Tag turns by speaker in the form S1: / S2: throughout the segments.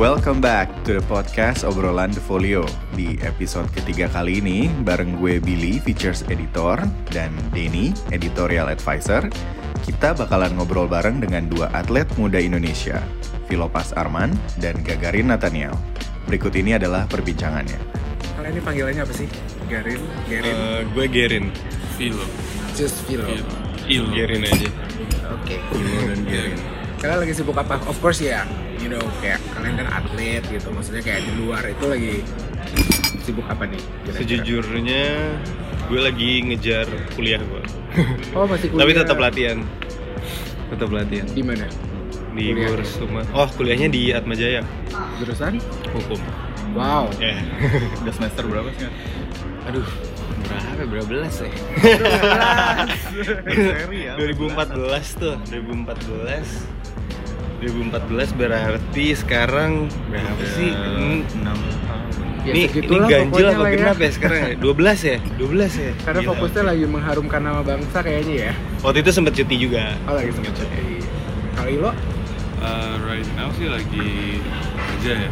S1: welcome back to the podcast Obrolan Defolio. Di episode ketiga kali ini, bareng gue Billy, Features Editor, dan Denny, Editorial Advisor, kita bakalan ngobrol bareng dengan dua atlet muda Indonesia, Vilopas Arman dan Gagarin Nathaniel. Berikut ini adalah perbincangannya.
S2: Kalian ini panggilannya apa sih? Garin, Garin,
S3: Eh, iya. gue Gerin.
S4: Vilo.
S2: Just Vilo. Oke. Iya.
S4: Ilo.
S3: Gerin aja.
S2: Kalian lagi sibuk apa? Of course ya, you know kayak kalian kan atlet gitu. Maksudnya kayak di luar itu lagi sibuk apa nih? kira-kira?
S3: Iya. Sejujurnya gue lagi ngejar kuliah gue.
S2: Oh masih kuliah.
S3: Tapi tetap latihan. Tetap latihan
S2: Di mana?
S3: di
S2: Kuliah.
S3: Gors Suma- Oh, kuliahnya di Atmajaya
S2: Jurusan?
S3: Hukum.
S2: Wow.
S3: Ya.
S1: Udah semester berapa sih?
S3: Aduh,
S2: Berapa? Berapa belas ya?
S3: 2014 tuh, 2014. 2014 berarti sekarang berapa sih? Hmm, ini, ini
S2: segitulah
S3: ganjil
S2: pokoknya
S3: apa
S2: Ya, lah ya.
S3: genap ya sekarang ya? 12 ya? 12 ya?
S2: Karena
S3: Gila.
S2: fokusnya lagi mengharumkan nama bangsa kayaknya ya.
S3: Waktu itu sempet cuti juga
S2: Oh lagi sempet cuti. Kalau Ilo?
S4: Uh, right now sih lagi kerja ya.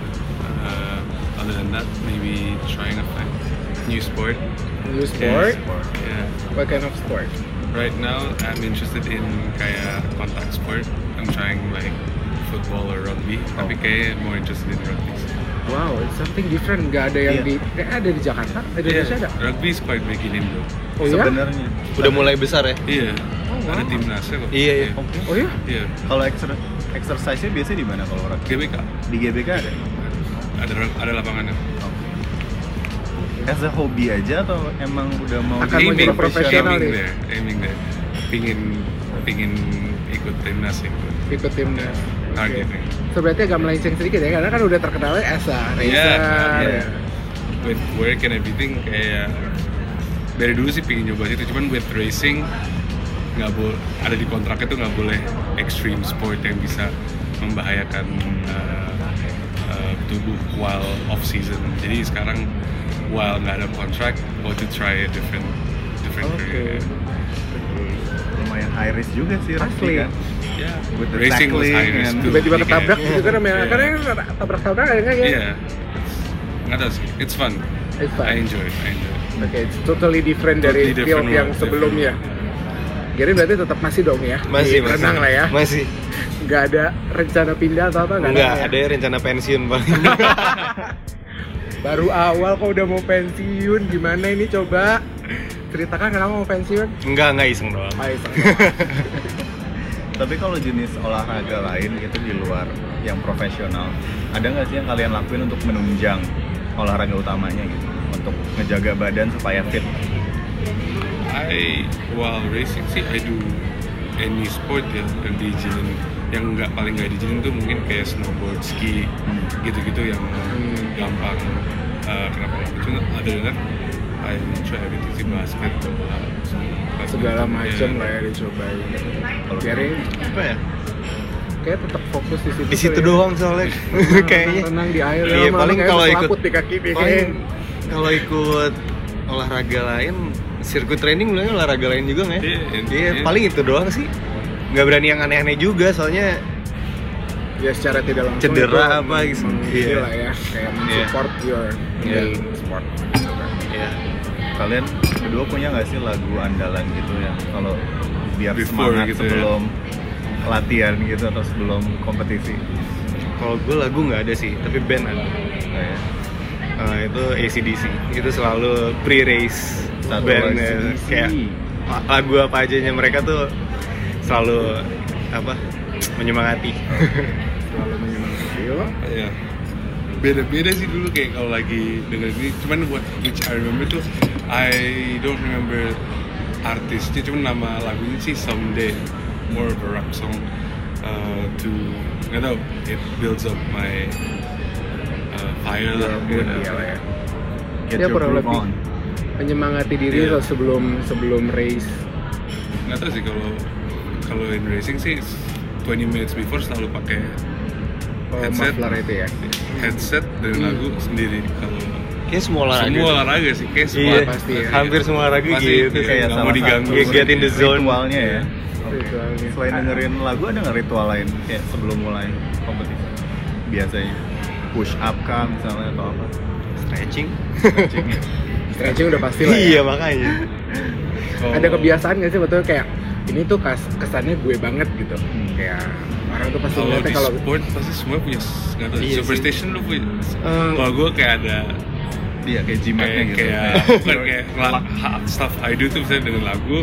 S4: Uh, other than that, maybe trying to find new sport.
S2: New sport?
S4: Yeah.
S2: What kind of sport?
S4: Right now, I'm interested in kayak contact sport. I'm trying like football or rugby. Tapi kayak more interested in rugby. sih.
S2: Wow, it's something different. Gak ada yang di,
S3: Iya.
S2: kayak ada di Jakarta, ada di Indonesia ada.
S4: Rugby is quite big in Indo.
S2: Oh
S3: iya?
S2: ya?
S5: sebenarnya
S3: Udah mulai besar ya?
S4: Iya.
S2: Oh, wow.
S4: Ada timnasnya kok.
S3: Iya, iya.
S2: Oh ya?
S4: Iya.
S5: kalau exer exercise nya biasanya di mana kalau orang
S4: GBK.
S5: di GBK ada
S4: ah. Ada ada lapangannya.
S5: as a hobi aja atau emang udah mau
S2: Akan
S5: jadi
S2: mau jadi profesional
S4: aiming
S2: nih.
S4: deh, aiming deh. Pingin pingin ikut timnas sih.
S2: ikut timnas. Oke.
S4: Targetnya.
S2: So berarti agak melenceng sedikit ya, karena kan udah terkenalnya as a racer.
S4: Iya, iya.
S2: ya.
S4: with work and everything kayak dari dulu sih pingin nyoba situ cuman with racing nggak boleh ada di kontraknya tuh nggak boleh extreme sport yang bisa membahayakan uh, uh, tubuh while off season jadi sekarang while nggak ada kontrak go to try a different different
S2: Oke.
S4: career
S5: lumayan high risk juga sih
S2: Asli.
S5: Raffi kan
S4: yeah
S5: With the
S4: racing was
S5: tackling
S4: high risk
S5: and-
S4: too.
S2: Tiba-tiba
S4: Jadi kayak-
S2: ketabrak gitu kan namanya.
S4: Iya.
S2: Karena kan tabrak-tabrak ada kan ya?
S4: iya nggak tahu sih it's fun
S2: It's fun.
S4: I enjoy it, I enjoy it.
S2: Oke, it's totally different dari
S4: Totally different
S2: field yang
S4: world,
S2: sebelumnya. Jadi berarti tetap masih dong ya?
S3: Masih,
S2: Di
S3: masih.
S2: Renang lah ya?
S3: Masih.
S2: Nggak ada rencana pindah atau apa? nggak
S3: Enggak,
S2: ya?
S3: ada rencana pensiun paling.
S2: Baru awal kok udah mau pensiun, gimana ini coba? Ceritakan kenapa mau pensiun?
S3: enggak, enggak iseng doang.
S2: Ayo,
S5: tapi kalau jenis olahraga lain itu di luar yang profesional ada nggak sih yang kalian lakuin untuk menunjang olahraga utamanya gitu untuk ngejaga badan supaya fit
S4: I while racing sih I do any sport ya yang diizinin yang nggak paling nggak diizinin tuh mungkin kayak snowboard, ski gitu-gitu yang gampang uh, kenapa nggak cuma other than that I enjoy everything sih basket bola semua.
S2: segala
S4: Badminton,
S2: macam
S4: ya.
S2: lah ya dicobain.
S5: Kalau-
S2: Biarin,
S3: Apa ya?
S2: kayak tetap fokus di situ.
S3: Di situ
S2: ya.
S3: doang soalnya.
S2: Renang-
S3: Kayaknya.
S2: renang di air
S3: Iya,
S2: lama-lama
S3: paling
S2: kayak
S3: kalau
S2: terselaput
S3: ikut
S2: di kaki nih,
S3: paling
S2: kayaknya.
S3: kalau ikut olahraga lain, sirkuit training mulai olahraga lain juga nggak ya?
S4: Iya, iya,
S3: Iya,
S4: iya.
S3: paling itu doang sih. Nggak berani yang aneh-aneh juga soalnya
S2: ya secara tidak langsung
S3: Cedera
S2: itu
S3: apa gitu.
S2: meng-
S3: Iya.
S2: lah ya kayak mensupport your
S3: Iya.
S2: main sport
S3: ya
S5: kalian berdua punya nggak sih lagu andalan gitu ya kalau biar
S4: Before
S5: semangat
S4: gitu ya.
S5: sebelum latihan gitu atau sebelum kompetisi
S3: kalau gue lagu nggak ada sih, tapi band ada.
S5: kayak
S3: Eh, itu ACDC itu selalu pre-race
S5: Satu
S3: band
S5: lagi.
S3: eh, kayak lagu apa ajanya mereka tuh selalu apa menyemangati
S2: selalu menyemangati lo
S4: Iya. Beda-beda sih dulu kayak kalau lagi dengerin ini. Cuman buat which I remember tuh I don't remember artisnya. Cuman nama lagunya sih Someday more of a rock song uh, to nggak tahu it builds up my uh, fire lah.
S2: Mood,
S4: gitu.
S2: iya lah ya.
S5: get
S2: Ya,
S5: your
S2: kurang
S5: groove
S2: lebih.
S5: on
S2: menyemangati diri
S4: Iya.
S2: lo sebelum sebelum race
S4: Nggak tahu sih kalau kalau in racing sih 20 minutes before selalu pakai
S2: oh,
S4: Headset.
S2: muffler itu ya
S4: headset dan
S2: Hmm.
S4: lagu sendiri kalau
S3: kayak semua olahraga
S4: semua
S3: sih.
S4: olahraga sih kayak semua
S3: iya,
S2: pasti ya.
S3: hampir semua olahraga
S4: Pasti
S3: gitu
S4: iya,
S3: kayak
S4: nggak mau
S3: sama
S4: diganggu.
S3: get in the zone
S5: ritualnya ya
S2: Ritualnya.
S5: selain dengerin lagu ada nggak ritual lain kayak sebelum mulai kompetisi biasanya push up kah misalnya atau apa
S3: stretching
S5: Stretching ya.
S2: Stretching udah pasti lah ya.
S3: iya makanya
S4: Kalau-
S2: Ada kebiasaan gak sih betulnya kayak ini tuh kas, kesannya gue banget gitu.
S3: Hmm.
S2: Kayak orang tuh pasti
S4: kalau
S2: ngeliatnya
S4: di
S2: kalau
S4: sport pasti semua punya s- nggak tahu
S3: Iya sih.
S4: superstition lu punya
S3: Eh,
S4: kalau gue kayak ada
S5: iya kayak jimatnya
S4: kayak
S5: gitu
S4: kayak bukan kayak la- ha- stuff I do tuh misalnya dengan lagu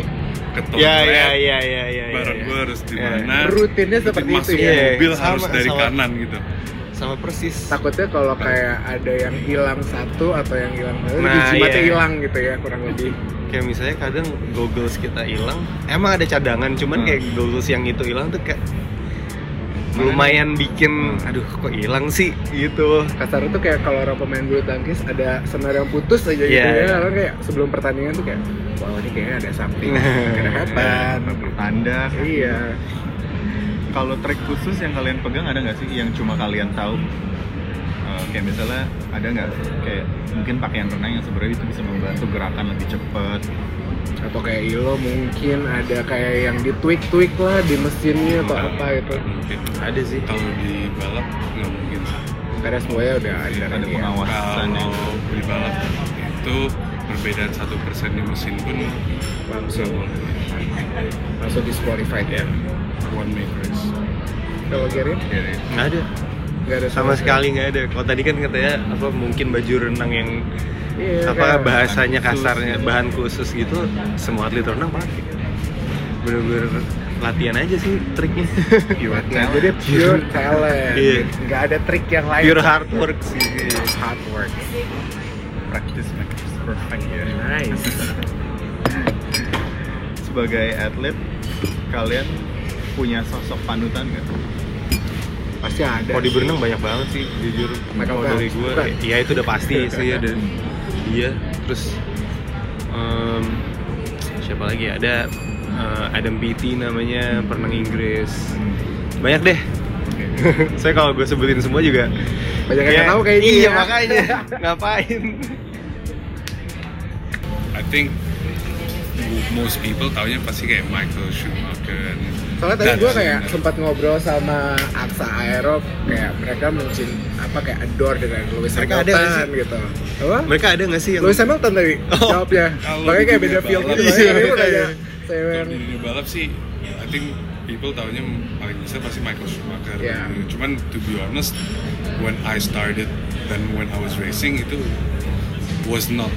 S4: ketok
S3: ya ya ya ya ya
S4: barang
S3: ya.
S4: gue harus di
S3: Iya.
S4: mana
S2: rutinnya seperti itu ya.
S4: masuk
S3: Iya.
S4: mobil
S3: Sama-
S4: harus dari
S3: sama.
S4: kanan gitu
S3: sama persis
S2: Takutnya kalau kayak ada yang hilang satu atau yang hilang satu,
S3: Nah,
S2: jimatnya
S3: iya.
S2: hilang gitu ya kurang lebih.
S3: kayak misalnya kadang goggles kita hilang emang ada cadangan cuman kayak goggles yang itu hilang tuh kayak lumayan bikin aduh kok hilang sih gitu
S2: kasar tuh kayak kalau orang pemain bulu tangkis ada senar yang putus aja gitu
S3: Iya,
S2: ya
S3: iya.
S2: orang kayak sebelum pertandingan tuh kayak wah ini kayaknya ada something
S5: Ban,
S2: kenapa
S5: tanda
S2: iya
S5: kalau trik khusus yang kalian pegang ada nggak sih yang cuma kalian tahu Eh, kayak misalnya ada nggak kayak mungkin pakaian renang yang sebenarnya itu bisa membantu gerakan lebih cepat
S2: atau kayak ilo mungkin ada kayak yang di tweak tweak lah di mesinnya atau apa gitu
S4: mungkin
S3: ada sih
S4: kalau di balap nggak mungkin
S2: karena semuanya udah ada
S5: ada
S2: lagi ya.
S5: pengawasan yang
S4: kalau di balap itu perbedaan satu persen di mesin pun
S2: langsung
S4: nggak boleh
S2: langsung disqualified ya
S4: ya one make race
S2: kalau Gary
S4: Jadi,
S3: nggak ada
S2: nggak ada
S3: Iya. sama sekali nggak ada kalau tadi kan katanya apa mungkin baju renang yang
S2: iya,
S3: apa
S2: kayak-
S3: bahasanya
S5: bahan khusus.
S3: kasarnya bahan khusus gitu semua atlet renang pakai bener-bener latihan aja sih triknya
S5: pure
S2: Nah,
S5: talent.
S2: jadi pure talent
S3: Iya.
S2: nggak ada trik yang lain
S3: pure hard work sih
S2: hard work
S5: practice makes perfect ya
S2: nice
S5: sebagai atlet kalian punya sosok panutan nggak
S2: pasti ada
S3: kalau di berenang banyak banget sih jujur
S2: Michael
S3: kalau dari
S2: Phelps,
S3: gue
S2: bukan?
S3: ya itu udah pasti sih ada dia terus em, siapa lagi ya? ada eh, Adam Beatty namanya perenang Inggris banyak deh saya kalau gue sebutin semua juga
S2: banyak yang
S3: kayak-
S2: nggak tahu kayak
S3: iya
S2: dia.
S3: makanya ngapain
S4: I think most people taunya pasti kayak Michael Schumacher
S2: soalnya tadi
S4: Dan-
S2: gue kayak
S3: Nah.
S2: sempat ngobrol sama Aksa Aero kayak mereka mungkin apa kayak adore dengan Lewis
S3: Mereka
S2: Hamilton
S3: ada nggak sih?
S2: gitu apa
S3: mereka ada nggak sih yang
S2: Lewis Hamilton tadi jawabnya
S4: Kalau
S2: makanya kayak
S4: di
S2: beda
S4: dunia
S2: field
S4: balap.
S2: gitu
S3: Oh. Iya,
S2: makanya
S3: makanya.
S2: kayak saya
S4: Kalau
S2: yang-
S4: di dunia balap sih I think people taunya paling besar pasti Michael Schumacher
S2: Yeah.
S4: cuman to be honest when I started dan when I was racing itu was not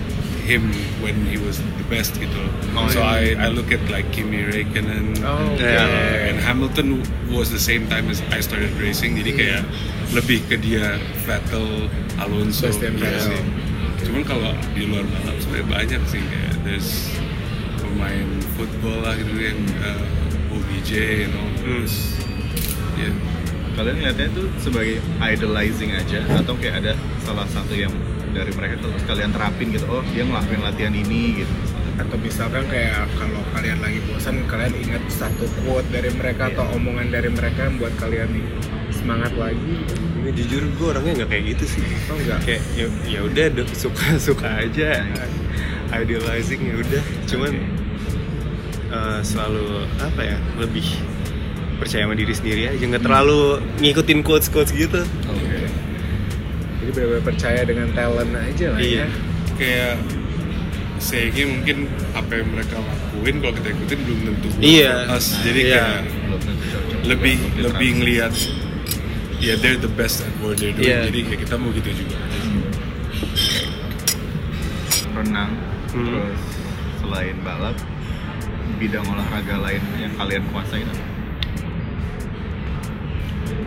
S4: him when he was the best gitu so I I look at like Kimi Räikkönen
S2: Oh,
S4: and,
S3: okay.
S4: and Hamilton was the same time as I started racing jadi
S2: Hmm.
S4: kayak lebih ke dia Vettel Alonso
S2: Sebastian
S4: gitu
S2: Vettel.
S4: sih. cuman kalau di luar balap sebenarnya banyak sih kayak there's pemain football lah gitu yang uh, OBJ and
S3: Hmm.
S4: all terus ya, yeah.
S5: kalian ngeliatnya itu sebagai idolizing aja atau kayak ada salah satu yang dari mereka terus kalian terapin gitu oh dia ngelakuin latihan ini gitu
S2: atau misalkan kayak kalau kalian lagi bosan kalian ingat satu quote dari mereka atau
S3: Iya.
S2: omongan dari mereka yang buat kalian semangat lagi
S3: Ini jujur gue orangnya nggak kayak gitu sih
S2: atau enggak
S3: kayak ya ya udah do- suka suka aja idealizing ya udah cuman eh, selalu apa ya lebih percaya sama diri sendiri aja nggak terlalu ngikutin quotes quotes gitu
S2: jadi benar-benar percaya dengan talent aja lah
S3: Iya.
S2: ya
S4: kayak sayangnya mungkin apa yang mereka lakuin kalau kita ikutin belum tentu
S3: Iya.
S4: us. jadi
S3: Iya.
S4: kayak
S5: belum tentu cocok
S4: lebih
S5: Belum tentu
S4: lebih
S5: terapin.
S4: ngelihat ya they're the best at what they're doing
S3: Iya.
S4: jadi kayak kita mau gitu juga
S5: renang
S3: Hmm.
S5: terus selain balap bidang olahraga lain yang kalian kuasain apa?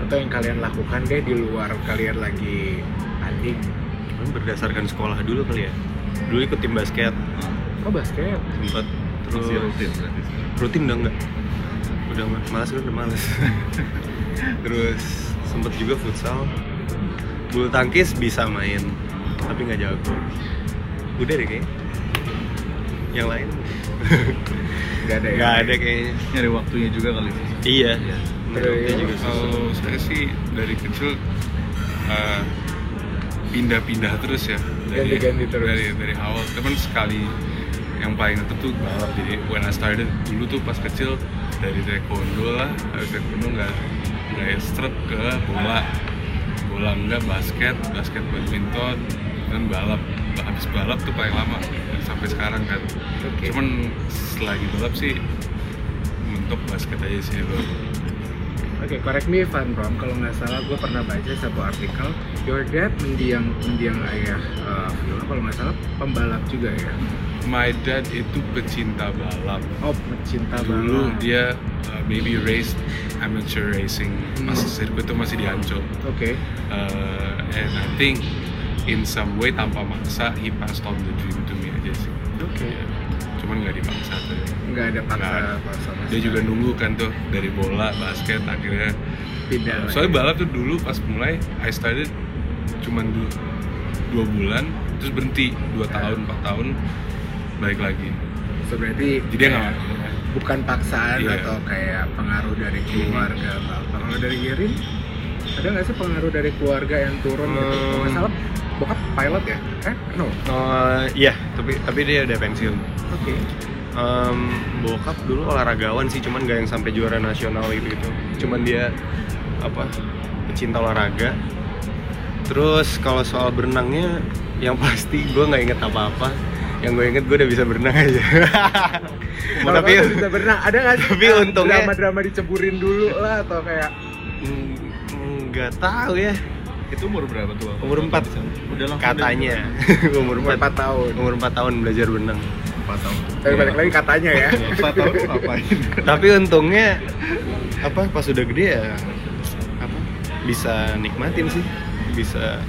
S2: atau yang kalian lakukan deh di luar kalian lagi hunting
S3: Cuman berdasarkan sekolah dulu kali ya dulu ikut tim basket
S2: oh basket
S3: sempat terus
S5: masih ya rutin berarti
S3: rutin udah nggak udah ma- malas udah malas terus sempet juga futsal bulu tangkis bisa main tapi nggak jago udah deh kayaknya yang lain
S2: nggak ada ya
S3: nggak ada kayaknya
S5: nyari waktunya juga kali sih
S3: iya
S2: Terus-
S3: menurutnya juga susah
S4: kalau saya sih dari kecil uh, pindah-pindah terus ya dari
S2: Ganti-ganti terus.
S4: dari dari awal teman sekali yang paling tetap tuh balap jadi when I started dulu tuh pas kecil dari taekwondo lah habis taekwondo nggak nggak strap ke bola bola enggak basket basket badminton dan balap habis balap tuh paling lama dan sampai sekarang kan
S2: Oke.
S4: cuman selagi balap sih untuk basket aja sih bro
S2: Oke, correct me if I'm wrong. Kalau nggak salah, gue pernah baca satu artikel. Your dad mendiang mendiang ayah eh, Viola. Kalau nggak salah, pembalap juga ya.
S4: my dad itu pecinta balap
S2: Oh, pecinta
S4: dulu
S2: balap.
S4: dia uh, maybe race amateur racing
S2: Hmm.
S4: masih sirkuit itu masih di Ancol
S2: Oke.
S4: Uh, and I think in some way tanpa maksa he passed on the dream to me aja sih
S2: Oke.
S4: Ya, cuman nggak dipaksa tuh
S2: Nggak ada paksa
S4: Nggak ada.
S2: paksa. mas.
S4: dia juga nunggu kan tuh dari bola basket akhirnya
S2: Pindah. lagi.
S4: soalnya balap tuh dulu pas mulai I started cuman dua, dua bulan terus berhenti dua
S2: Ya.
S4: tahun empat tahun balik lagi
S2: So, berarti
S4: jadi nggak
S2: kayak bukan paksaan
S4: Iya. Hmm.
S2: atau kayak pengaruh dari keluarga atau apa. Kalau dari Gerin, ada nggak sih pengaruh dari keluarga yang turun gitu? Kalau nggak
S3: Hmm.
S2: salah, bokap pilot ya? Eh, no.
S3: Eh, iya tapi tapi dia udah pensiun
S2: Oke.
S3: Em, bokap dulu olahragawan sih cuman gak yang sampai juara nasional gitu gitu cuman dia apa pecinta olahraga terus kalau soal berenangnya yang pasti gue nggak inget apa apa yang gue inget gue udah bisa berenang aja
S2: Kalau
S4: iya.
S3: tapi ya,
S2: kamu bisa berenang, ada nggak sih?
S3: tapi
S2: eh,
S3: untungnya-
S2: drama-drama diceburin dulu lah atau kayak
S3: Mm, nggak tahu ya
S5: Itu umur berapa tuh? Bang?
S3: Umur empat.
S5: Udah langsung
S3: katanya umur
S2: umur 4
S3: 4
S2: tahun.
S3: umur 4 tahun belajar berenang
S5: Empat tahun.
S4: Iya.
S2: Tapi balik lagi katanya ya.
S5: Empat tahun tuh ngapain?
S3: tapi untungnya apa pas udah gede ya apa bisa nikmatin sih bisa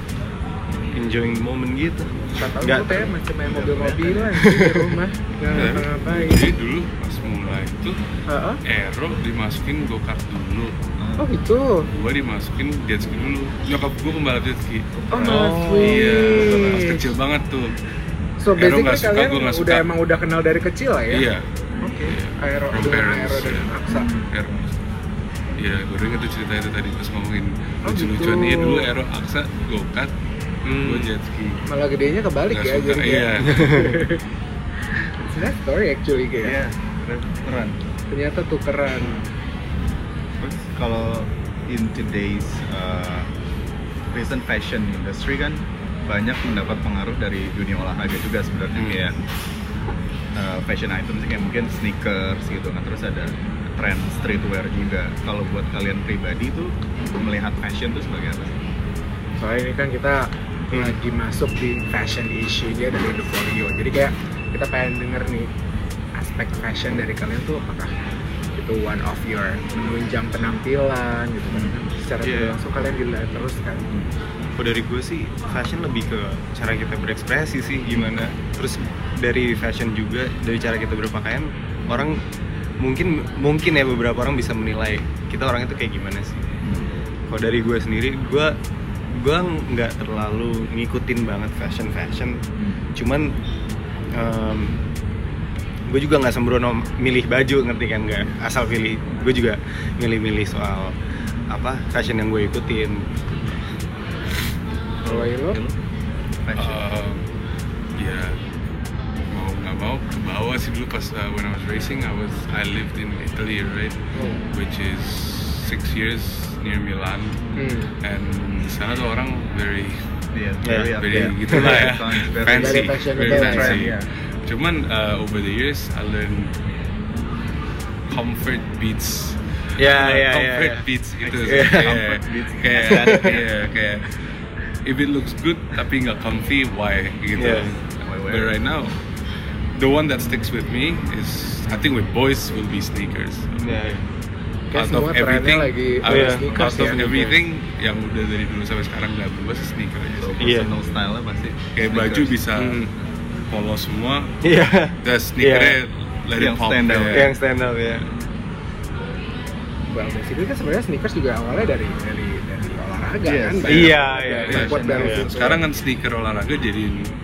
S3: enjoying the moment gitu
S2: Empat tahun
S3: Nggak.
S2: itu kayak macam main mobil-mobilan sih di rumah. Nggak
S4: Ya.
S2: ngapa-ngapain.
S4: Iya. jadi dulu pas mulai itu
S2: Heeh.
S4: Aero dimasukin go kart dulu
S2: Oh itu.
S4: gua dimasukin jet ski dulu nyokap gua pembalap jet ski
S2: Oh, malah
S4: iya pas
S2: sweet.
S4: kecil banget tuh
S2: So
S4: Aero
S2: basically
S4: nggak suka,
S2: kalian
S4: gua nggak
S2: udah
S4: suka.
S2: emang udah kenal dari kecil lah ya?
S4: iya
S2: Oke. Aero
S4: From
S2: dengan
S4: parents,
S2: aero dengan
S4: iya.
S2: aksa.
S4: Aero Iya, gue inget tuh cerita itu tadi pas ngomongin
S2: Oh,
S4: lucu-lucuan
S2: gitu.
S4: Iya dulu Aero Aksa go kart,
S3: Hmm.
S4: gua jet ski
S2: Malah gedenya kebalik
S4: Nggak
S2: ya
S4: suka,
S2: jadi.
S4: iya
S2: It's a nice story actually kayak.
S5: Iya, keren.
S2: Ternyata tukeran.
S5: Terus kalau in today's uh, recent fashion industry kan banyak mendapat pengaruh dari dunia olahraga juga sebenarnya
S4: Hmm.
S5: kayak uh, fashion items kayak mungkin sneakers gitu kan terus ada trend streetwear juga. Kalau buat kalian pribadi tuh melihat fashion tuh sebagai apa? sih?
S2: soalnya ini kan kita lagi masuk di fashion issue-nya dari The Folio jadi kayak kita pengen denger nih aspek fashion dari kalian tuh apakah itu one of your menunjang penampilan gitu kan secara
S3: Iya.
S2: tidak langsung kalian dilihat terus kan
S3: kalau dari gue sih fashion lebih ke cara kita berekspresi sih gimana terus dari fashion juga dari cara kita berpakaian orang mungkin mungkin ya beberapa orang bisa menilai kita orang itu kayak gimana sih kalau dari gue sendiri gue gue nggak terlalu ngikutin banget fashion fashion
S5: Hmm,
S3: cuman gue juga nggak sembrono milih baju ngerti kan nggak asal pilih gue juga milih-milih soal apa fashion yang gue ikutin
S2: kalau lo
S5: Fashion.
S4: Eh, ya mau nggak mau ke bawah sih dulu pas uh, when I was racing I was I lived in Italy right
S2: Hmm.
S4: which is six years near Milan
S2: hmm.
S4: and di sana tuh orang very
S5: Iya,
S3: very
S5: up
S4: very
S5: there.
S4: gitu lah ya
S5: Sounds very-
S4: fancy
S2: Very fashionable lah
S4: very
S2: ya.
S4: fancy
S5: Iya.
S4: cuman uh, over the years I learned comfort beats
S5: Ah,
S3: Ya, ya, ya,
S4: comfort
S3: ya.
S4: beats gitu
S3: Iya.
S4: kayak
S5: Comfort beats.
S4: kayak iya, kayak if it looks good tapi nggak comfy why gitu
S3: Iya.
S5: Why wear
S4: but
S5: it?
S4: right now the one that sticks with me is I think with boys will be sneakers
S2: Kayak semua trennya lagi
S4: out,
S3: iya,
S2: sneakers
S4: out of
S2: ya.
S4: everything yang udah dari dulu sampai sekarang nggak berubah sih sneaker aja
S5: So,
S4: sih.
S3: Iya.
S5: personal style-nya pasti
S4: kayak baju
S5: sneakers.
S4: bisa
S3: Hmm.
S4: polos semua
S3: Iya.
S4: dan sneakernya let it
S5: Yang
S4: pop
S5: stand out.
S4: ya.
S2: Iya.
S3: Yang stand up ya.
S2: well basically kan sebenarnya sneakers juga awalnya dari dari dari olahraga
S5: Yes.
S2: kan
S5: Iya,
S2: banyak
S3: iya,
S2: banget
S4: iya.
S2: yang buat gitu. dari
S3: Iya.
S2: situ.
S4: sekarang kan sneaker olahraga jadi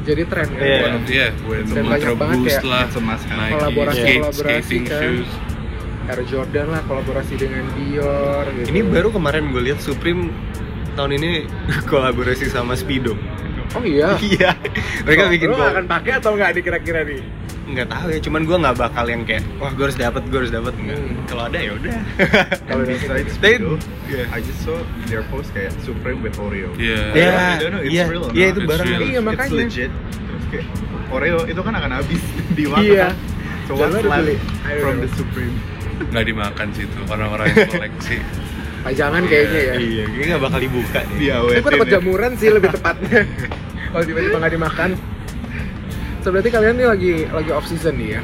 S2: jadi tren kan
S3: Iya.
S4: one of the yeah, when
S2: Dan banyak
S4: Ultra
S2: banget
S4: Boost
S2: kayak
S4: lah
S5: it's a must have.
S4: Nike
S2: Kolaborasi-
S4: skate,
S2: kolaborasi
S4: skating
S2: kan.
S4: shoes
S2: Air Jordan lah kolaborasi dengan Dior gitu.
S3: Ini baru kemarin gue lihat Supreme tahun ini kolaborasi sama Speedo.
S2: oh iya
S3: Iya. Mereka
S2: Lo-
S3: bikin
S2: lo
S3: kol-
S2: akan pakai atau nggak dikira-kira nih
S3: nggak tahu ya cuman gue nggak bakal yang kayak wah gue harus dapat gue harus dapat nggak kalau ada ya udah
S5: And besides
S3: They-
S5: Speedo,
S3: yeah.
S5: I just saw their post kayak Supreme with Oreo.
S4: Iya.
S5: Iya.
S3: ya
S5: I don't know, it's
S3: iya
S5: real or
S3: iya
S5: not.
S3: itu
S4: It's
S3: barang
S4: real.
S2: Iya,
S5: It's
S2: makanya.
S5: legit. Terus kayak Oreo itu kan akan habis di waktu.
S2: Iya.
S5: So what's
S2: Jangan
S5: left
S2: beli. Ayo.
S5: from the Supreme?
S4: nggak dimakan sih itu orang-orang yang koleksi
S2: Pajangan kayaknya ya.
S3: iya kayaknya nggak bakal dibuka deh.
S2: Tapi
S5: Diawetin.
S2: gue takut
S5: ya.
S2: jamuran sih lebih tepatnya. Kalau tiba-tiba nggak dimakan. So berarti kalian nih lagi lagi off season nih ya.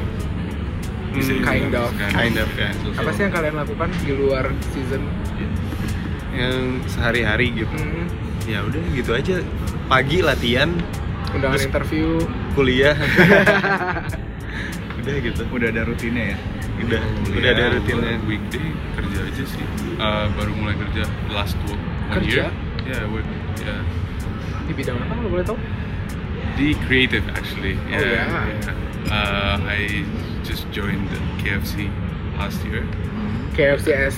S3: Hmm,
S4: Bisa dibilang
S2: kind of.
S4: sekarang.
S3: kind of ya
S2: Apa sih yang kalian lakukan di luar season?
S3: yang sehari-hari gitu
S2: Hmm,
S3: ya udah gitu aja pagi latihan
S2: undangan
S3: Terus-
S2: interview.
S3: kuliah udah gitu
S5: Udah ada rutinnya ya.
S3: udah udah ada
S4: Kuliah,
S3: rutinnya
S4: gua weekday kerja aja sih Eh, baru mulai kerja last two one
S2: Kerja?
S4: year yeah work yeah
S2: Di bidang apa kalau boleh tahu?
S4: the creative actually
S2: Oh,
S4: yeah,
S2: yeah.
S4: yeah. Uh, I just joined the KFC last year
S2: KFC as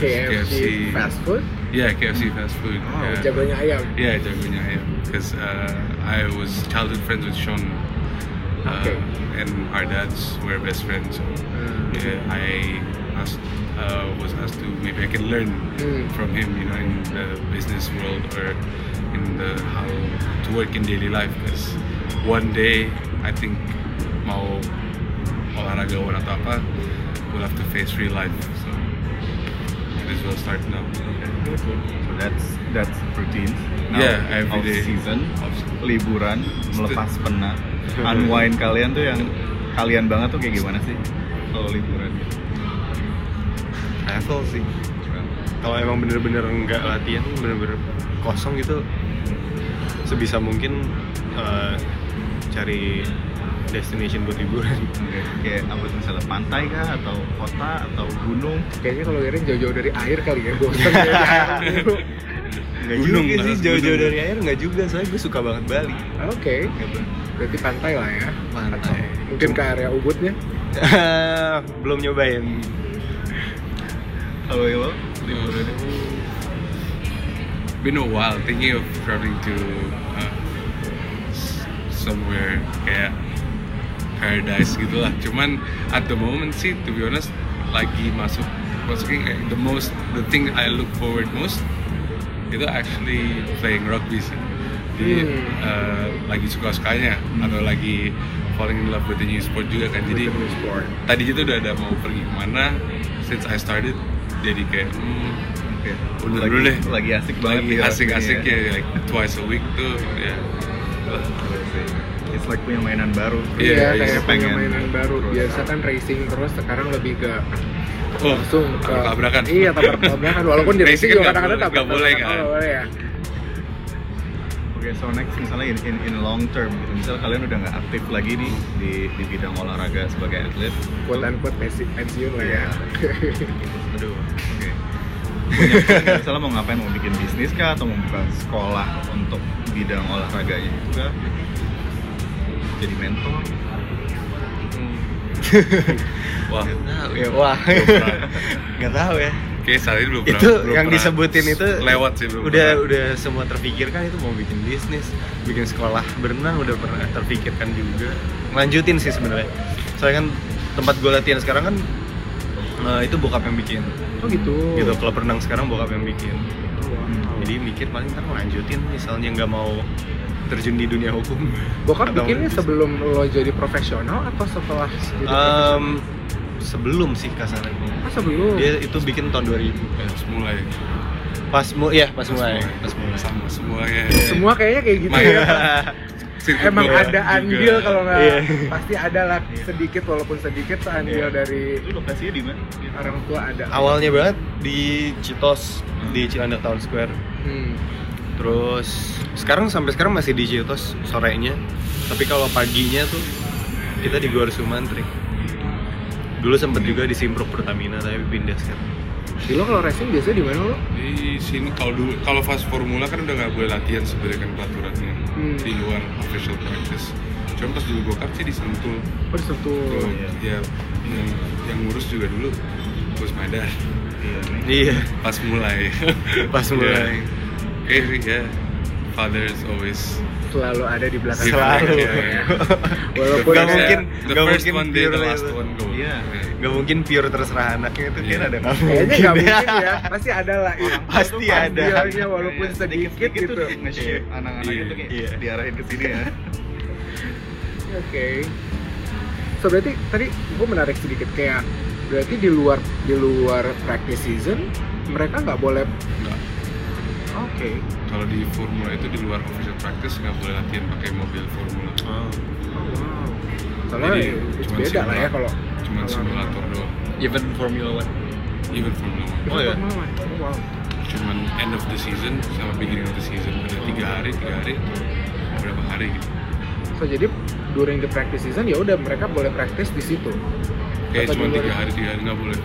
S2: KFC,
S4: KFC.
S2: fast food.
S4: yeah KFC fast food
S2: Oh,
S4: yeah.
S2: jagonya ayam.
S4: Yeah, jagonya ayam. Because uh, I was childhood friends with Sean, uh,
S2: Okay.
S4: and our dads were best friends. So
S2: Hmm.
S4: yeah, I asked, uh, was asked to maybe I can learn
S2: Hmm.
S4: from him, you know, in the business world or in the how to work in daily life. Because one day I think mau olahragawan atau apa, we'll have to face real life. So might as well start now.
S5: So that's that's routine.
S4: Yeah, every
S5: off
S4: day.
S5: season,
S4: Off-
S5: liburan, melepas penat, unwind kalian tuh yang kalian banget tuh kayak gimana sih kalau liburan gitu?
S3: travel sih kalau emang bener-bener nggak latihan bener-bener kosong gitu sebisa mungkin eh, cari destination buat liburan
S5: Oke, Kayak apa tuh, misalnya pantai kah atau kota atau gunung?
S2: Nah, Kayaknya kalau Erin jauh-jauh dari air kali ya, bosan ya.
S3: nggak
S4: Gunung,
S3: juga sih
S4: harus
S3: jauh-jauh
S4: gunung.
S3: dari air nggak juga soalnya gue suka banget Bali
S2: Oke,
S3: gitu.
S2: berarti pantai lah ya.
S3: pantai
S2: Mungkin ke area Ubudnya.
S3: belum nyobain
S5: Kalau lo?
S4: been a while thinking of traveling to uh, s- somewhere kayak paradise gitu lah cuman at the moment sih to be honest lagi masuk masukin kayak the most the thing I look forward most itu actually playing rugby sih jadi
S2: Hmm.
S4: uh, lagi suka sukanya atau lagi falling in love with the new sport juga kan jadi tadi itu udah ada mau pergi kemana since I started jadi kayak hmm,
S5: Oke.
S4: Udah
S5: lagi,
S4: dulu deh.
S5: Lagi asik banget.
S3: Iya,
S4: lagi
S5: ya,
S4: asik-asik
S5: rasanya
S4: ya, like twice a week tuh ya
S5: It's like punya mainan baru.
S4: Iya,
S2: Iya,
S4: iya,
S2: kayak pengen
S5: pengen.
S2: mainan baru. Biasa kan racing terus sekarang lebih ke
S4: oh
S2: langsung ke
S4: tabrakan
S2: Iya, tabrak tabrakan walaupun di racing
S4: Racing kan
S2: juga
S4: nggak
S2: kadang-kadang tabrak
S4: boleh- nggak boleh
S2: tabrakan.
S4: kan?
S2: Oh, boleh ya.
S5: Oke, so next misalnya in, in, in long term, gitu. misalnya kalian udah nggak aktif lagi nih di, di bidang olahraga sebagai atlet,
S2: Quote unquote basic pensiun lah ya.
S4: Iya.
S5: aduh, oke. Punya plan nggak? misalnya mau ngapain, mau bikin bisnis kah, atau mau buka sekolah untuk bidang olahraganya juga, jadi mentor,
S3: Hmm.
S4: wah
S3: ya wah nggak tahu ya
S4: oke saat ini belum
S3: itu
S4: pernah- belum
S3: yang
S4: pernah
S3: disebutin itu
S4: lewat sih belum
S3: udah
S4: pernah.
S3: udah semua terpikirkan itu mau bikin bisnis bikin sekolah berenang udah pernah terpikirkan juga lanjutin sih sebenarnya soalnya kan tempat gue latihan sekarang kan eh, itu bokap yang bikin
S2: Oh gitu.
S3: gitu klub renang sekarang bokap yang bikin
S2: Wow.
S3: jadi mikir paling ntar lanjutin misalnya nggak mau terjun di dunia hukum
S2: Bokap
S3: Atau
S2: bikinnya
S3: bisnis.
S2: sebelum lo jadi profesional atau setelah jadi
S3: Em,
S4: Ah,
S2: profesional?
S3: sebelum sih kasarnya
S2: Ah, sebelum.
S3: dia itu bikin tahun 2000
S4: Ya, harus mulai
S3: pas mu ya pas
S4: Harus
S3: mulai Eh, pas mulai
S4: sama ya. semuanya
S2: Semua kayaknya kayak gitu
S4: Main.
S2: ya.
S4: Circuit
S2: Emang
S4: bola
S2: ada
S4: juga.
S2: andil kalau nggak
S3: Iya.
S2: pasti ada lah sedikit walaupun sedikit tuh andil
S3: Iya.
S2: dari
S5: itu lokasinya di mana?
S2: orang tua ada.
S3: awalnya banget di Citos di Cilandak Town Square
S2: Hmm.
S3: terus sekarang sampai sekarang masih di Citos sorenya tapi kalau paginya tuh kita di Gor Sumantri dulu sempet juga di Simprok Pertamina tapi pindah sekarang
S2: Jadi lo kalau racing biasanya di mana lo?
S4: di sini kalau dulu kalau fast formula kan udah nggak boleh latihan sebenarnya kan peraturannya
S2: Hmm.
S4: di luar official practice cuma pas dulu gokart sih disentuh
S2: Oh, di situ.
S4: tuh ya yang, yang ngurus juga dulu Gus Madar
S3: iya
S4: pas mulai Iya.
S3: pas mulai
S4: Eh, yeah. Father is always
S2: selalu ada di belakang
S3: Iya,
S4: Give
S2: kalian.
S4: back,
S5: Selalu.
S4: ya, ya.
S2: Walaupun
S4: Gak
S2: ada-
S4: mungkin. The
S5: gak
S4: first one there, the
S5: pure
S4: last
S5: itu.
S4: one go.
S5: Iya.
S4: Iya.
S5: Gak mungkin pure terserah anaknya itu
S4: Iya.
S5: kan ada nggak
S2: kayaknya nggak mungkin ya pasti ada lah
S5: Orang pasti ada.
S2: ya, walaupun
S5: Iya,
S2: sedikit,
S5: sedikit-sedikit
S2: gitu
S5: tuh
S2: oke
S5: nge-shape anak-anak
S4: Iya.
S5: itu kayak
S4: Iya.
S5: diarahin ke sini ya.
S2: so berarti tadi gue menarik sedikit kayak berarti di luar di luar practice season mereka nggak boleh
S4: Nggak.
S2: oke
S4: Kalau di Formula itu di luar official practice nggak boleh latihan pakai mobil Formula.
S2: Oh, wow. soalnya
S4: Jadi,
S2: it's
S4: cuman
S2: beda lah ya
S4: simulator.
S2: kalau
S4: Cuman
S2: kalau-
S4: simulator doang.
S5: Even Formula
S4: Even Formula One.
S5: Oh, iya.
S2: Oh, wow
S4: Cuman end of the season sama beginning of the season ada tiga hari, tiga hari, atau berapa hari gitu.
S2: so jadi during the practice season ya udah mereka boleh practice di situ
S4: Kayak
S2: Atau
S4: cuma
S2: di luar
S4: tiga
S2: itu?
S4: hari, tiga hari nggak boleh.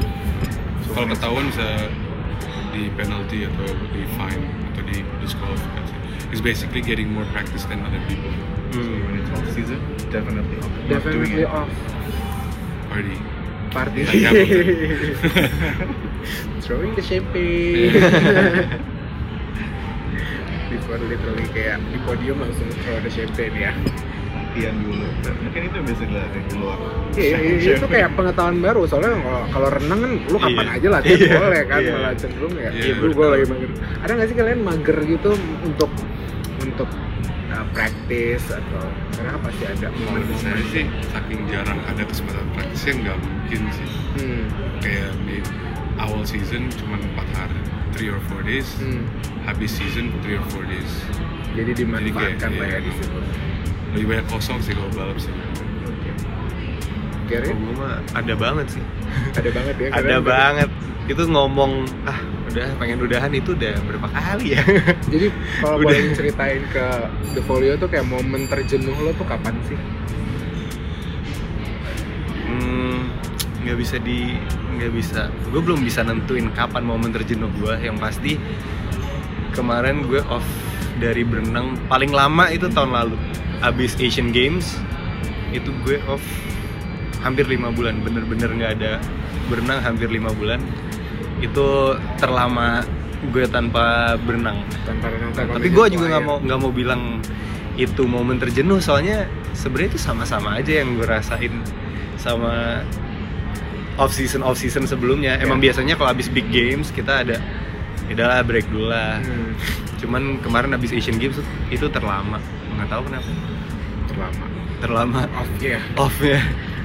S4: Kalau ketahuan bisa di penalty atau di fine atau di disqualifikasi. It's basically getting more practice than other people
S5: When it's off season, definitely off. Not doing
S2: Hmm. definitely
S5: it.
S2: off
S4: already.
S2: party
S4: Iya,
S2: throwing the champagne before literally kayak di podium langsung throw the champagne ya
S5: Latihan Iya, dulu. Mungkin itu yang biasa dilatih di luar.
S2: Iya, iya, iya, itu kayak pengetahuan baru soalnya kalau kalau renang kan lu kapan
S5: Iya.
S2: aja latihan
S5: Iya,
S2: boleh kan
S5: iya.
S2: malah cenderung ya.
S4: Iya,
S2: Lu
S4: betul.
S2: gue lagi mager. Ada nggak sih kalian mager gitu untuk untuk uh, praktis atau karena pasti ada
S4: Saya
S2: momen-momen.
S4: sih saking jarang ada kesempatan praktisnya nggak mungkin sih.
S2: Hmm,
S4: Kayak di awal season cuma empat hari, three or four days.
S2: hmm.
S4: Habis season three or four days.
S2: Jadi dimanfaatkan
S4: Jadi
S2: lah ya
S4: kayak-
S2: di situ.
S4: Lebih banyak kosong sih kalau balap sih.
S2: Kira
S3: Kalau gue mah ada banget sih.
S2: ada banget ya.
S3: ada
S2: kalian.
S3: banget. Itu ngomong ah udah pengen udahan itu udah berapa kali ya?
S2: Jadi kalau
S3: Udah.
S2: boleh ceritain ke The Folio tuh kayak momen terjenuh lo tuh kapan sih?
S3: Hmm, nggak bisa di nggak bisa. Gue belum bisa nentuin kapan momen terjenuh gue. Yang pasti kemarin gue off dari berenang paling lama itu tahun lalu. Abis Asian Games itu gue off hampir lima bulan. Bener-bener nggak ada berenang hampir lima bulan. Itu terlama gue tanpa berenang
S2: Tanpa renang tanpa
S3: tapi
S2: media
S3: gue juga nggak
S2: player.
S3: mau nggak mau bilang itu momen terjenuh soalnya sebenarnya itu sama-sama aja yang gue rasain sama off season off season sebelumnya
S2: Iya.
S3: emang biasanya kalau habis big games kita ada ya udahlah break dulu lah
S2: Hmm,
S3: cuman kemarin habis Asian Games itu- itu terlama nggak tahu kenapa
S2: terlama.
S3: terlama
S2: Off ya.
S3: offnya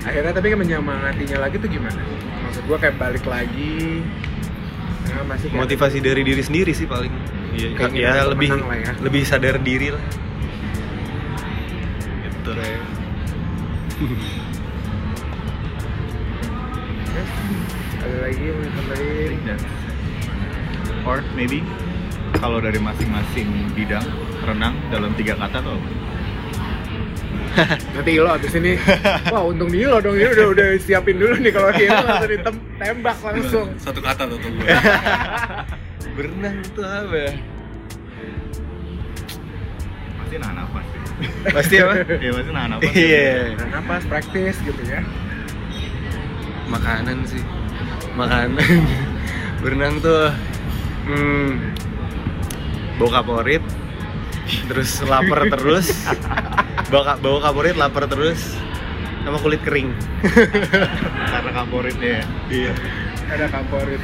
S2: akhirnya tapi menyemangatinya lagi tuh gimana? maksud gua kayak balik lagi nah, masih kayak-
S3: motivasi dari diri sendiri sih paling ya,
S2: Kayak
S3: ya,
S2: gitu,
S3: lebih
S2: menang lah ya.
S3: lebih sadar diri lah gitu
S2: Oke. Terus, ada lagi yang ditambahin?
S5: think that's it. Iya. Or maybe kalau dari masing-masing bidang renang dalam tiga kata tuh apa?
S2: nanti lo abis ini wah untung dia lo dong ini udah udah siapin dulu nih kalau dia langsung ditembak langsung
S4: Satu kata tuh tuh gue.
S3: berenang itu apa ya?
S5: pasti nahan nafas sih.
S3: pasti apa
S5: Iya pasti nahan nafas.
S3: Iya.
S2: nah, napas praktis gitu ya
S3: Makanan sih. Makanan. Berenang tuh. Hmm, bau kaporit. Terus lapar terus. Bau, ka- bau kaporit lapar terus. Sama kulit kering.
S5: Karena kaporitnya. ya.
S3: Iya.
S2: ada gitu. kaporit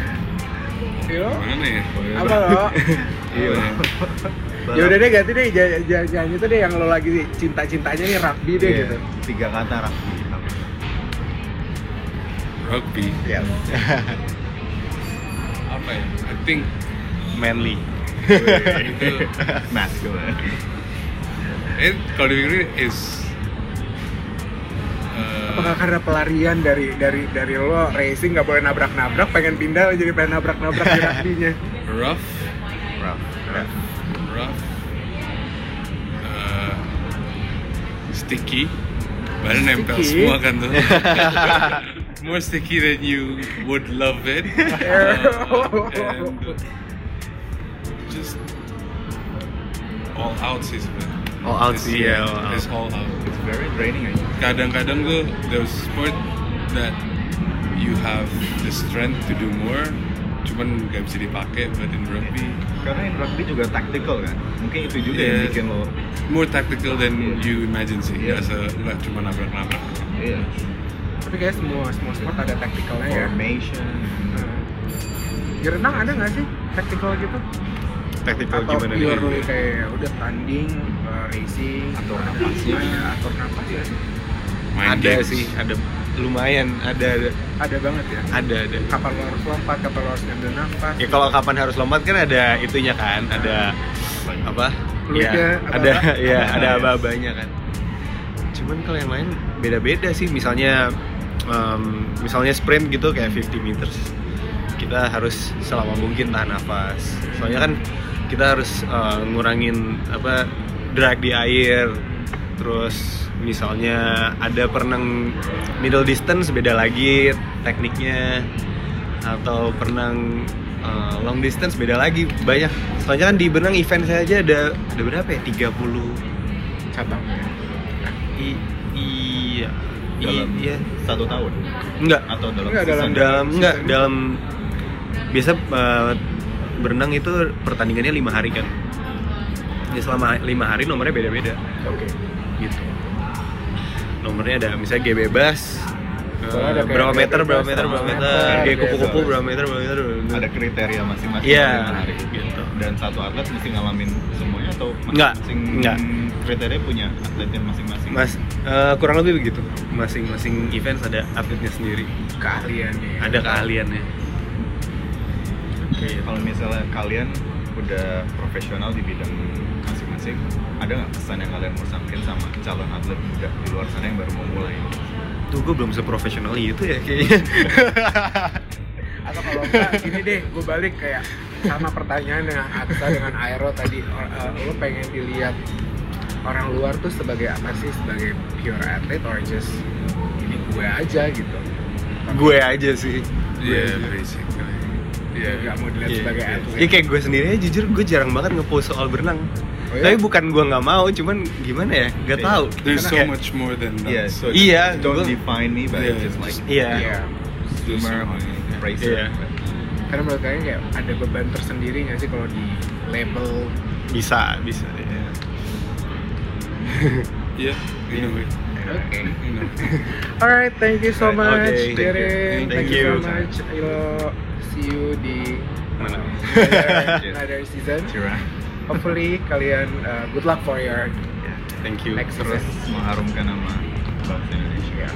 S2: Yo,
S4: Gimana ya?
S2: apa lo?
S4: Iya.
S2: Ya udah deh ganti deh jangan itu deh yang lo lagi cinta-cintanya nih rugby deh
S5: Iya,
S2: gitu.
S5: Tiga kata rapi.
S4: Rugby.
S2: Iya.
S4: Apa ya? I think
S3: Manly.
S5: Gitu.
S2: Iya.
S4: itu
S5: Mas gimana?
S4: Eh, kalau dipikirin is eh,
S2: Apakah karena pelarian dari dari dari lo racing nggak boleh nabrak-nabrak, pengen pindah jadi pengen nabrak-nabrak di rugby-nya?
S4: rough,
S5: Raf. Raf.
S4: rough, eh, sticky. Baru nempel
S2: Sticky.
S4: semua kan tuh. More sticky than you would love it. Uh, and just all out sih sebenarnya.
S3: All out sih, ya,
S4: Iya,
S3: all out.
S4: It's all out.
S5: It's very draining aja.
S4: kadang-kadang tuh there's sport that you have the strength to do more cuman nggak bisa dipakai but in rugby
S5: Karena in rugby juga tactical kan. Mungkin itu juga
S2: Iya.
S5: yang
S4: Yes.
S5: bikin lo.
S4: more tactical than you imagine sih
S5: Yeah.
S4: nggak se nggak cuma nabrak-nabrak
S5: Iya.
S2: Tapi kayak semua semua sport ada tacticalnya ya.
S5: Formation.
S2: Hmm. Di renang ada nggak sih tactical gitu?
S3: Tactical
S2: Atau
S3: gimana
S2: pure
S3: nih?
S2: kayak ya udah tanding, eh, racing,
S5: Atur
S2: ada-
S5: napasnya.
S2: ada atur ya. napasnya.
S4: main
S3: ada
S4: games.
S3: sih, ada lumayan, ada ada
S2: Ada banget ya.
S3: ada. ada.
S2: Kapan lo harus lompat, kapan lo harus ngambil nafas.
S3: Ya kalau kapan harus lompat kan ada itunya kan, ada apa?
S2: Peluitnya,
S3: Ya, ada
S2: aba-aba.
S3: ya ada
S5: Aba-aba.
S3: aba-abanya kan. Cuman kalau yang lain beda-beda sih, misalnya em, misalnya sprint gitu kayak 50 meters. Kita harus selama mungkin tahan nafas. Soalnya kan kita harus eh, ngurangin apa drag di air. Terus misalnya ada perenang middle distance beda lagi tekniknya atau perenang uh, long distance beda lagi banyak soalnya kan di benang event saya aja ada ada berapa ya 30
S2: cabang.
S3: i iya i-
S5: Dalam
S3: iya
S5: satu tahun
S3: enggak
S5: atau dalam
S2: Enggak, dalam-
S5: season.
S3: dalam
S2: season.
S3: enggak dalam biasa uh, berenang itu pertandingannya lima hari kan ya selama lima hari nomornya beda-beda
S2: Oke.
S3: gitu nomornya ada misalnya G bebas
S2: Soalnya ada
S3: uh,
S2: kayak
S3: berapa
S2: G
S3: meter berapa
S2: bebas,
S3: meter berapa
S2: berapa
S3: meter
S2: meter,
S3: G
S2: gitu.
S3: kupu-kupu berapa meter berapa meter berapa meter.
S5: Ada kriteria masing-masing
S3: Iya,
S5: yang menarik.
S3: gitu.
S5: Dan satu atlet mesti ngalamin semuanya atau
S3: Nggak,
S5: masing-masing
S3: nggak.
S5: kriteria punya atletnya masing-masing.
S3: Mas, eh, kurang lebih begitu. Masing-masing event ada atletnya sendiri,
S2: Keahliannya.
S3: ada keahliannya.
S5: Kalau misalnya kalian udah profesional di bidang masing-masing, ada nggak pesan yang kalian mau sampaikan sama calon atlet muda di luar sana yang baru mau mulai?
S3: Tuh gue belum seprofesional itu ya kayaknya.
S2: Atau kalau enggak, gini deh, gue balik kayak sama pertanyaan dengan Aksa dengan Aero tadi. Or- eh, lo pengen dilihat orang luar tuh sebagai apa sih? Sebagai pure athlete or just ini gue aja gitu.
S3: gue aja sih.
S4: yeah basically
S2: Ya,
S4: yeah
S2: nggak mau dilihat
S3: Iya,
S2: sebagai
S3: iya.
S2: atlet.
S3: Ya kayak gue sendiri aja, jujur gue jarang banget ngepost soal berenang.
S2: Oh, iya?
S3: Tapi bukan gue nggak mau, cuman gimana ya? Gak
S5: Iya.
S3: tahu.
S4: there's so
S3: Kayak-
S4: much more than that
S5: Iya, so
S3: Iya,
S5: don't
S3: gua-
S5: define me by
S4: Yeah,
S5: just like
S3: Iya.
S2: Iya.
S4: There's so
S5: swimmer,
S4: much.
S5: racer.
S3: Iya.
S2: Karena menurut kalian kayak ada beban tersendiri nggak sih kalau di label
S3: Bisa, bisa. Iya.
S4: yeah in a way
S2: Oke.
S4: you know
S2: Alright, thank you so
S3: Alright,
S2: much,
S3: okay.
S2: Dere.
S3: Thank
S2: Thank,
S3: you.
S2: you so much. Ayo, see you di
S3: Mana?
S2: another another season.
S5: Cerah,
S2: Hopefully kalian uh, good luck for your
S3: Thank you.
S2: next
S5: terus
S2: season.
S5: mengharumkan nama bangsa Indonesia.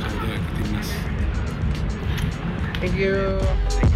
S4: Sampai ketemu.
S2: Thank you.
S5: Thank you.